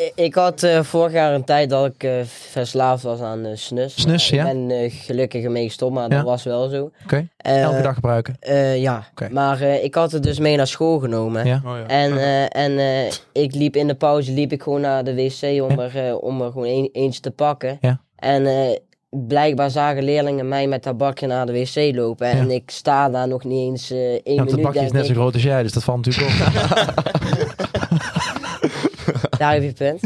Speaker 5: I- Ik had eh, vorig jaar een tijd dat ik eh, verslaafd was aan eh, snus.
Speaker 3: Snus,
Speaker 5: Maar
Speaker 3: ja.
Speaker 5: Ik ben eh, gelukkig ermee gestopt, maar
Speaker 3: Ja.
Speaker 5: dat was wel zo.
Speaker 3: Oké. Elke dag gebruiken.
Speaker 5: Eh, ja,
Speaker 3: Oké.
Speaker 5: maar eh, ik had het dus mee naar school genomen.
Speaker 3: Ja.
Speaker 2: Oh,
Speaker 5: En, eh, en eh, ik liep in de pauze liep ik gewoon naar de wc om, er, eh, om er gewoon een- eentje te pakken.
Speaker 3: Ja.
Speaker 5: En eh, blijkbaar zagen leerlingen mij met dat bakje naar de wc lopen. En ik sta daar nog niet eens eh één
Speaker 3: Ja, want
Speaker 5: minuut.
Speaker 3: het bakje is
Speaker 5: denk
Speaker 3: net zo
Speaker 5: ik.
Speaker 3: groot als jij, dus dat valt natuurlijk op.
Speaker 5: Daar heb je het punt.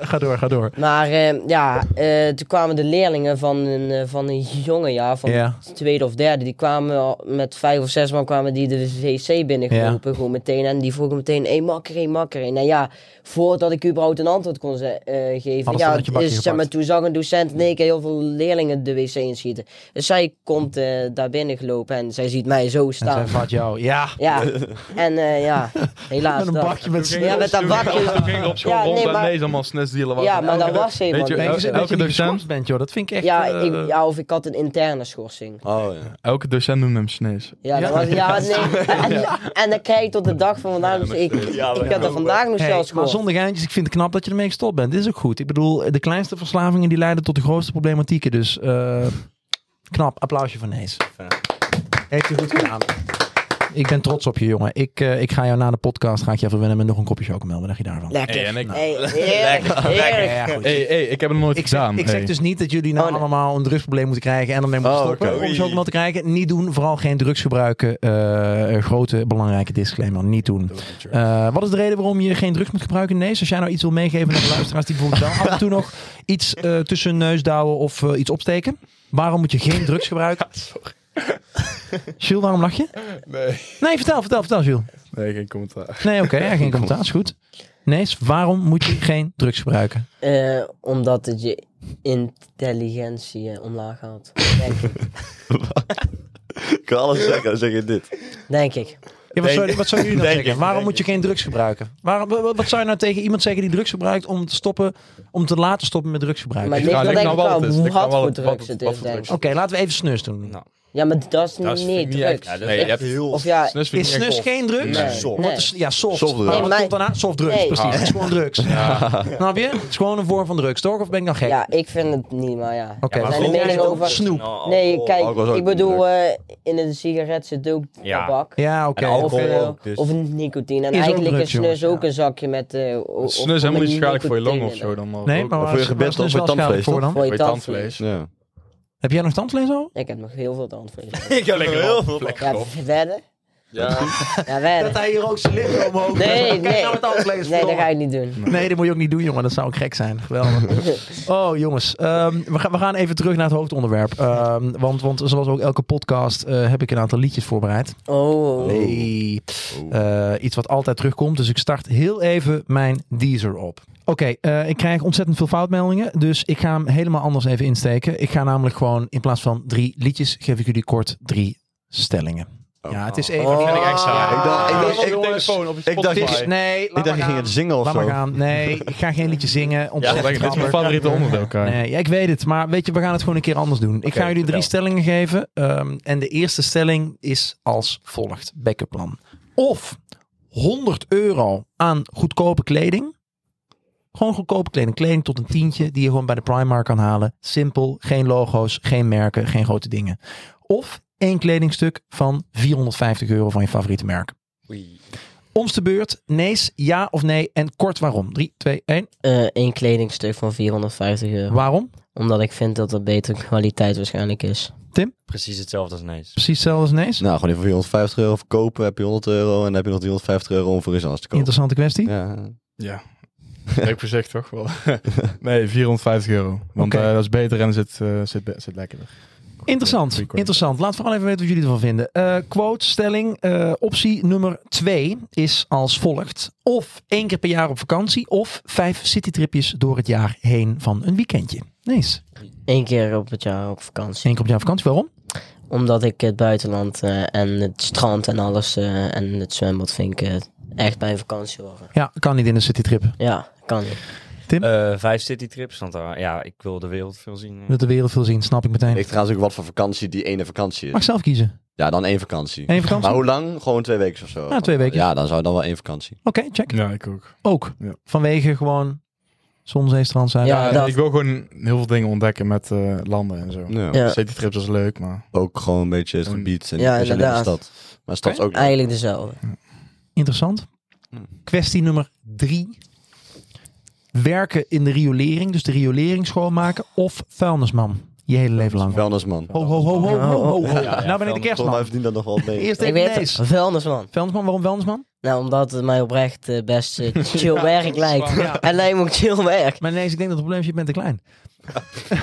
Speaker 3: ga door, ga door.
Speaker 5: Maar eh, ja, eh, toen kwamen de leerlingen van een, eh, van een jonge jaar, van
Speaker 3: Ja.
Speaker 5: het tweede of derde, die kwamen al met vijf of zes man kwamen die de wc binnengelopen gewoon meteen. En die vroegen meteen, hé makker, hé makker. En nou ja, voordat ik überhaupt een antwoord kon ze- eh, geven,
Speaker 3: Hadden ze
Speaker 5: ja,
Speaker 3: dat je bakje
Speaker 5: dus, zeg
Speaker 3: gepakt?
Speaker 5: maar, toen zag een docent in één keer heel veel leerlingen de wc inschieten. Dus zij komt eh, daar binnen gelopen en zij ziet mij zo
Speaker 3: En zij
Speaker 5: staan.
Speaker 3: vat jou. Ja.
Speaker 5: Ja, en eh, ja, helaas
Speaker 3: Met een
Speaker 5: dat.
Speaker 3: bakje met
Speaker 5: Ja, met dat bakje.
Speaker 2: ging op
Speaker 5: Ja, nee, maar-
Speaker 2: allemaal snusdealen
Speaker 5: Ja, maar dat
Speaker 2: Weet
Speaker 5: was
Speaker 2: je,
Speaker 5: iemand.
Speaker 3: Ben je,
Speaker 2: Elke
Speaker 3: dat je niet
Speaker 2: docent?
Speaker 3: geschorst bent, joh. Dat vind ik echt...
Speaker 5: Ja,
Speaker 3: eh,
Speaker 5: ik, ja, of ik had een interne schorsing.
Speaker 6: Oh ja.
Speaker 2: Elke docent noemde hem snees.
Speaker 5: Ja, dat was, ja nee. En, en dan kijk ik tot de dag van vandaag. nog ik ik heb er vandaag nog
Speaker 3: hey,
Speaker 5: zelfs
Speaker 3: maar
Speaker 5: gehoord.
Speaker 3: zonder geintjes, ik vind het knap dat je ermee gestopt bent. Dit is ook goed. Ik bedoel, de kleinste verslavingen die leiden tot de grootste problematieken. Dus eh, knap. Applausje voor Nees. Heeft u goed gedaan. Ik ben trots op je, jongen. Ik, eh, ik ga jou na de podcast ga ik je even wennen met nog een kopje chocomel. Wat dacht je daarvan?
Speaker 5: Lekker.
Speaker 2: Hey, en ik-
Speaker 5: Hey, heerlijk, heerlijk.
Speaker 3: Ja, goed.
Speaker 2: hey, hey, ik heb hem nog nooit
Speaker 3: Ik zeg,
Speaker 2: gedaan.
Speaker 3: ik zeg
Speaker 2: Hey.
Speaker 3: dus niet dat jullie nou
Speaker 5: Oh, nee.
Speaker 3: allemaal een drugsprobleem moeten krijgen en dan mee moeten
Speaker 6: Oh,
Speaker 3: stoppen.
Speaker 6: oké.
Speaker 3: Om ze ook wel te krijgen. Niet doen. Vooral geen drugs gebruiken. Eh, eh, grote belangrijke disclaimer. Niet doen. Eh, wat is de reden waarom je geen drugs moet gebruiken? Nee, als jij nou iets wil meegeven aan de luisteraars die bijvoorbeeld wel af en toe nog iets eh, tussen hun neus douwen of eh, iets opsteken. Waarom moet je geen drugs gebruiken? Jules, waarom lach je?
Speaker 2: Nee.
Speaker 3: Nee, vertel, vertel, vertel Jules.
Speaker 2: nee, geen commentaar.
Speaker 3: Nee, oké, ja, geen commentaar, is goed. Nee, waarom moet je geen drugs gebruiken?
Speaker 5: Eh, omdat het je intelligentie eh, omlaag haalt. Denk ik.
Speaker 6: Ik kan alles zeggen, dan zeg je dit.
Speaker 5: Denk ik.
Speaker 3: Ja, wat,
Speaker 6: Denk-
Speaker 3: zou, wat zou jullie nou
Speaker 6: denk
Speaker 3: zeggen?
Speaker 6: ik,
Speaker 3: Waarom
Speaker 6: denk
Speaker 3: moet je geen drugs gebruiken? Waarom, wa- wa- wat zou je nou tegen iemand zeggen die drugs gebruikt om te stoppen, om te laten stoppen met drugs gebruiken?
Speaker 5: Maar
Speaker 2: Ik
Speaker 5: ik denk
Speaker 2: ga-
Speaker 5: wel
Speaker 2: ik
Speaker 5: denk
Speaker 2: ga
Speaker 5: ik
Speaker 2: wel
Speaker 5: wel
Speaker 2: het is. Ik ga
Speaker 5: wat
Speaker 2: wel
Speaker 5: voor
Speaker 2: het- wat
Speaker 5: drugs
Speaker 2: het-
Speaker 5: het
Speaker 2: wat
Speaker 5: is,
Speaker 2: voor
Speaker 5: dus denk
Speaker 2: drugs.
Speaker 5: ik.
Speaker 3: Oké, laten we even snus doen.
Speaker 4: Nou,
Speaker 5: Ja, maar dat is
Speaker 2: Dat is
Speaker 5: niet
Speaker 2: niet echt-
Speaker 5: drugs.
Speaker 4: Ja, dat
Speaker 2: Nee,
Speaker 4: is
Speaker 2: je hebt
Speaker 4: echt
Speaker 2: heel...
Speaker 5: Of ja,
Speaker 2: Snus vind ik
Speaker 3: Is
Speaker 2: niet echt
Speaker 3: snus
Speaker 2: tof.
Speaker 3: geen drugs?
Speaker 5: Nee.
Speaker 4: soft.
Speaker 3: Want het is- ja, soft.
Speaker 6: Soft drugs.
Speaker 3: Maar wat
Speaker 5: Nee.
Speaker 3: komt daarna? Soft drugs,
Speaker 5: Nee.
Speaker 3: precies.
Speaker 2: Ah.
Speaker 3: Het is gewoon drugs. Snap je? Het is gewoon een vorm van drugs, toch? Of ben ik nou gek?
Speaker 5: ja, ik vind het niet, maar ja.
Speaker 3: Oké,
Speaker 5: Er
Speaker 3: maar
Speaker 5: zijn de
Speaker 3: vind jij
Speaker 5: meningen
Speaker 3: het ook
Speaker 5: over.
Speaker 3: snoep?
Speaker 4: Oh,
Speaker 5: Nee, kijk,
Speaker 6: alcohol is ook
Speaker 5: ik bedoel,
Speaker 6: druk.
Speaker 5: eh, in een sigaret zit ook
Speaker 4: Ja.
Speaker 5: tabak.
Speaker 3: Ja, oké.
Speaker 4: En
Speaker 5: Of,
Speaker 4: alcohol.
Speaker 5: eh,
Speaker 4: ook, dus-
Speaker 5: of nicotine. En
Speaker 3: Is ook
Speaker 5: eigenlijk
Speaker 3: drugs,
Speaker 5: is snus
Speaker 3: jongens,
Speaker 5: ook een zakje met... eh, o- of-
Speaker 2: Snus is helemaal
Speaker 5: met
Speaker 2: niet schadelijk voor je
Speaker 5: nicotine
Speaker 2: longen of
Speaker 5: in.
Speaker 2: zo. Dan wel
Speaker 3: Nee,
Speaker 2: ook.
Speaker 3: maar
Speaker 2: Of
Speaker 3: waar
Speaker 6: voor je
Speaker 3: is- waar is
Speaker 6: gebitsel,
Speaker 3: snus
Speaker 6: voor je
Speaker 3: wel schadelijk
Speaker 6: tandvlees,
Speaker 3: voor dan?
Speaker 5: Voor je
Speaker 2: Voor je tandvlees.
Speaker 5: tandvlees.
Speaker 6: Ja.
Speaker 3: Heb jij nog tandvlees al?
Speaker 5: Ik heb nog heel veel tandvlees.
Speaker 4: Ik heb er heel veel van.
Speaker 5: Ja, verder. Ja, werk.
Speaker 3: Dat hij hier ook zijn lichaam omhoog
Speaker 5: Nee,
Speaker 3: Kijk
Speaker 5: nee.
Speaker 3: nou met alles
Speaker 5: Nee, dat ga ik niet doen.
Speaker 3: Nee, dat moet je ook niet doen, jongen. Dat zou gek zijn. Geweldig. Oh, jongens. ehm, we, gaan, we gaan even terug naar het hoofdonderwerp. Ehm, want, want zoals ook elke podcast eh, heb ik een aantal liedjes voorbereid.
Speaker 5: Oh.
Speaker 3: Hey. Eh, iets wat altijd terugkomt. Dus ik start heel even mijn Deezer op. Oké, eh, ik krijg ontzettend veel foutmeldingen. Dus ik ga hem helemaal anders even insteken. Ik ga namelijk gewoon in plaats van drie liedjes, geef ik jullie kort drie stellingen. Ja, het is even.
Speaker 6: Oh.
Speaker 2: vind ik echt saai. Ah.
Speaker 6: Ik dacht- ik dacht-
Speaker 2: op je
Speaker 6: ik-
Speaker 2: telefoon, op je
Speaker 6: ik dacht-
Speaker 2: Spotify.
Speaker 3: Het is- nee, laat
Speaker 6: Ik dacht, je
Speaker 3: maar
Speaker 6: ging
Speaker 3: gaan.
Speaker 6: het zingen of
Speaker 3: Laat
Speaker 6: zo.
Speaker 3: maar gaan. Nee, ik ga geen liedje zingen.
Speaker 2: Ja,
Speaker 3: Ontzettend
Speaker 2: dit is mijn
Speaker 3: grappig.
Speaker 2: favoriete onderdeel, Kai.
Speaker 3: Nee, ja, ik weet het, maar weet je, we gaan het gewoon een keer anders doen. ik
Speaker 4: Oké,
Speaker 3: ga jullie drie
Speaker 4: vertel.
Speaker 3: stellingen geven. ehm, en de eerste stelling is als volgt: bekkenplan. Of 100 euro aan goedkope kleding. Gewoon goedkope kleding. Kleding tot een tientje die je gewoon bij de Primark kan halen. Simpel, geen logo's, geen merken, geen grote dingen. Of één kledingstuk van 450 euro van je favoriete merk.
Speaker 4: Oei.
Speaker 3: Omste beurt, nees, ja of nee en kort waarom. 3, 2, 1.
Speaker 5: Eén Eh, kledingstuk van 450 euro.
Speaker 3: Waarom?
Speaker 5: Omdat ik vind dat er betere kwaliteit waarschijnlijk is.
Speaker 4: Precies hetzelfde als ineens.
Speaker 3: Precies hetzelfde als nees.
Speaker 6: Nou, gewoon even 450 euro verkopen, heb je 100 euro en dan heb je nog 350 euro om voor iets anders te kopen.
Speaker 3: Interessante kwestie.
Speaker 6: Ja.
Speaker 2: Ja. Leuk voorzicht, toch? Wel. nee, 450 euro. Want
Speaker 3: Oké.
Speaker 2: eh, dat is beter en zit, eh, zit, be- zit lekkerder.
Speaker 3: Interessant,
Speaker 2: Goeie quote.
Speaker 3: interessant. Laat vooral even weten wat jullie ervan vinden. Eh, quote, stelling, eh, optie nummer 2 is als volgt. Of één keer per jaar op vakantie, of vijf citytripjes door het jaar heen van een weekendje. Nee,
Speaker 5: Eén keer op het jaar op vakantie.
Speaker 3: één keer op jaar vakantie. Waarom?
Speaker 5: Omdat ik het buitenland eh, en het strand en alles eh, en het zwembad vind ik eh, echt bij een vakantie horen.
Speaker 3: Ja, kan niet in een citytrip.
Speaker 5: Ja, kan niet.
Speaker 4: Eh, vijf citytrips, want eh, ja, ik wil de wereld veel zien. eh.
Speaker 3: Met de wereld veel zien, snap ik meteen.
Speaker 6: Ik trouwens ook wat voor vakantie die ene vakantie
Speaker 3: Mag
Speaker 6: is.
Speaker 3: ik zelf kiezen?
Speaker 6: Ja, dan één vakantie.
Speaker 3: Eén vakantie?
Speaker 6: Maar
Speaker 3: Oké,
Speaker 6: hoe lang? Gewoon twee weken of zo.
Speaker 3: Ja, twee weken.
Speaker 6: Ja, dan zou dan wel één vakantie.
Speaker 3: check.
Speaker 2: Ja, ik ook.
Speaker 3: Ook.
Speaker 2: Ja.
Speaker 3: Vanwege gewoon zon, zee, strand, zijn.
Speaker 5: Ja,
Speaker 2: Ja,
Speaker 5: dat-
Speaker 2: Ik wil gewoon heel veel dingen ontdekken met eh, landen en zo.
Speaker 6: Ja.
Speaker 5: Ja.
Speaker 2: Citytrips is leuk, maar...
Speaker 6: Ook gewoon een beetje het
Speaker 2: Gewoon-
Speaker 6: gebied en
Speaker 5: Ja,
Speaker 6: niet per se alleen de
Speaker 5: inderdaad.
Speaker 6: stad. Maar stad is ook leuk.
Speaker 5: Eigenlijk dezelfde.
Speaker 3: Interessant. Kwestie nummer drie. Werken in de riolering, dus de riolering schoonmaken of vuilnisman. Je hele leven lang.
Speaker 6: Vuilnisman.
Speaker 5: Oh,
Speaker 3: Ho, ho, ho, ho, ho, ho. nou ben ik de
Speaker 6: Volgens mij
Speaker 3: kerstman.
Speaker 6: verdient dat nog wel mee.
Speaker 3: Eerst
Speaker 5: Ik
Speaker 3: even
Speaker 5: weet
Speaker 3: Nees.
Speaker 5: het, vuilnisman.
Speaker 3: Vuilnisman, waarom vuilnisman?
Speaker 5: Nou, omdat het mij oprecht eh, best eh, chill werk lijkt. En hij moet chill werk.
Speaker 3: Maar Nees, ik denk dat het probleem is, je bent te klein.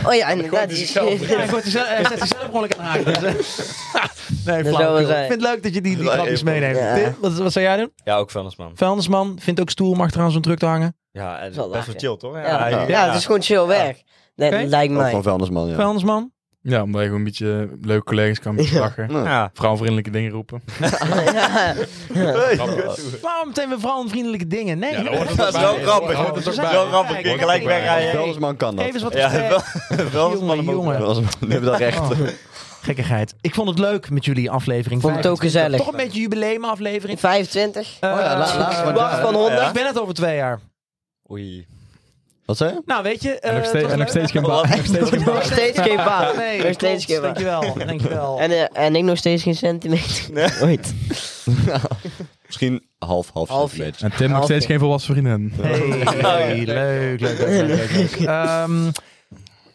Speaker 5: Oh ja, inderdaad.
Speaker 3: Ja, ik word jezelf, eh, zet jezelf gewoon lekker aan. Dus, eh, nee,
Speaker 5: Dat
Speaker 3: flauw.
Speaker 5: zou wel
Speaker 3: Ik
Speaker 5: zijn.
Speaker 3: vind het leuk dat je die, die
Speaker 6: Ja,
Speaker 3: grapjes
Speaker 6: even-
Speaker 3: meeneemt.
Speaker 5: Ja.
Speaker 3: Tim, wat, wat zou jij doen?
Speaker 4: Ja, ook vuilnisman.
Speaker 3: Vuilnisman, vindt ook stoel om achteraan zo'n truck te hangen.
Speaker 4: Ja, en
Speaker 5: Zal
Speaker 4: best wel
Speaker 5: lachen.
Speaker 4: chill, toch?
Speaker 5: Ja,
Speaker 4: ja.
Speaker 5: ja, het is gewoon chill werk. Nee,
Speaker 3: Oké.
Speaker 5: lijkt
Speaker 6: Ook
Speaker 5: mij.
Speaker 6: van vuilnisman, ja.
Speaker 3: Vuilnisman,
Speaker 2: Ja, omdat je gewoon een beetje leuke collega's kan
Speaker 5: Ja.
Speaker 2: lachen.
Speaker 4: Ja.
Speaker 2: Vrouwvriendelijke dingen roepen.
Speaker 5: Ja.
Speaker 3: waarom meteen weer vrouwenvriendelijke dingen? Nee,
Speaker 2: Ja, dat hoort er
Speaker 4: Dat is
Speaker 2: toch
Speaker 4: wel
Speaker 2: bij.
Speaker 4: grappig.
Speaker 2: Dat hoort er
Speaker 4: Dat
Speaker 2: toch bij.
Speaker 4: is wel grappig.
Speaker 2: Hoort
Speaker 4: Ik kan
Speaker 2: er
Speaker 4: gelijk
Speaker 2: toch bij.
Speaker 4: wegrijden.
Speaker 6: Vuilnisman kan dat.
Speaker 3: Even wat
Speaker 4: Ja,
Speaker 3: gesprek. Jongen, jongen.
Speaker 6: Vuilnisman hebben dat recht.
Speaker 3: Oh, gekkigheid. Ik vond het leuk met jullie aflevering.
Speaker 5: Vond het ook
Speaker 3: 25.
Speaker 5: gezellig. Oh
Speaker 3: Toch een beetje jubileumaflevering.
Speaker 5: 25.
Speaker 3: Eh,
Speaker 6: ja, la- laatste
Speaker 3: eh,
Speaker 6: maar daar.
Speaker 5: Wacht van 100.
Speaker 3: Ik ben het over twee jaar.
Speaker 4: Oei.
Speaker 6: Wat zei je?
Speaker 3: Nou, weet je. eh,
Speaker 2: En nog steeds,
Speaker 3: het was
Speaker 2: en
Speaker 3: leuk.
Speaker 2: nog steeds geen baan. Nog steeds geen
Speaker 5: Nog
Speaker 2: baan.
Speaker 5: steeds geen baan.
Speaker 3: Nee,
Speaker 5: nog steeds
Speaker 3: klopt.
Speaker 5: geen baan.
Speaker 3: Dankjewel, dankjewel.
Speaker 5: En, eh, en ik nog steeds geen centimeter. Ooit.
Speaker 6: Misschien half, half
Speaker 5: Half,
Speaker 6: centimeter.
Speaker 2: En Tim nog steeds geen volwassen vriendin.
Speaker 3: Hey, hey, leuk, leuk, leuk, leuk, leuk. Ehm,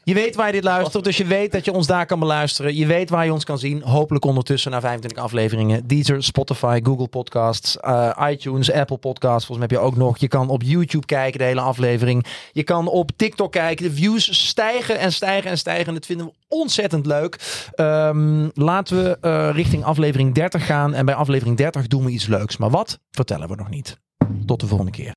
Speaker 3: je weet waar je dit luistert, dus je weet dat je ons daar kan beluisteren. Je weet waar je ons kan zien. Hopelijk ondertussen na 25 afleveringen. Deezer, Spotify, Google Podcasts, eh, iTunes, Apple Podcasts. Volgens mij heb je ook nog. Je kan op YouTube kijken, de hele aflevering. Je kan op TikTok kijken. De views stijgen en stijgen en stijgen. En dat vinden we ontzettend leuk. Ehm, laten we eh, richting aflevering 30 gaan. En bij aflevering 30 doen we iets leuks. Maar wat? Vertellen we nog niet. Tot de volgende keer.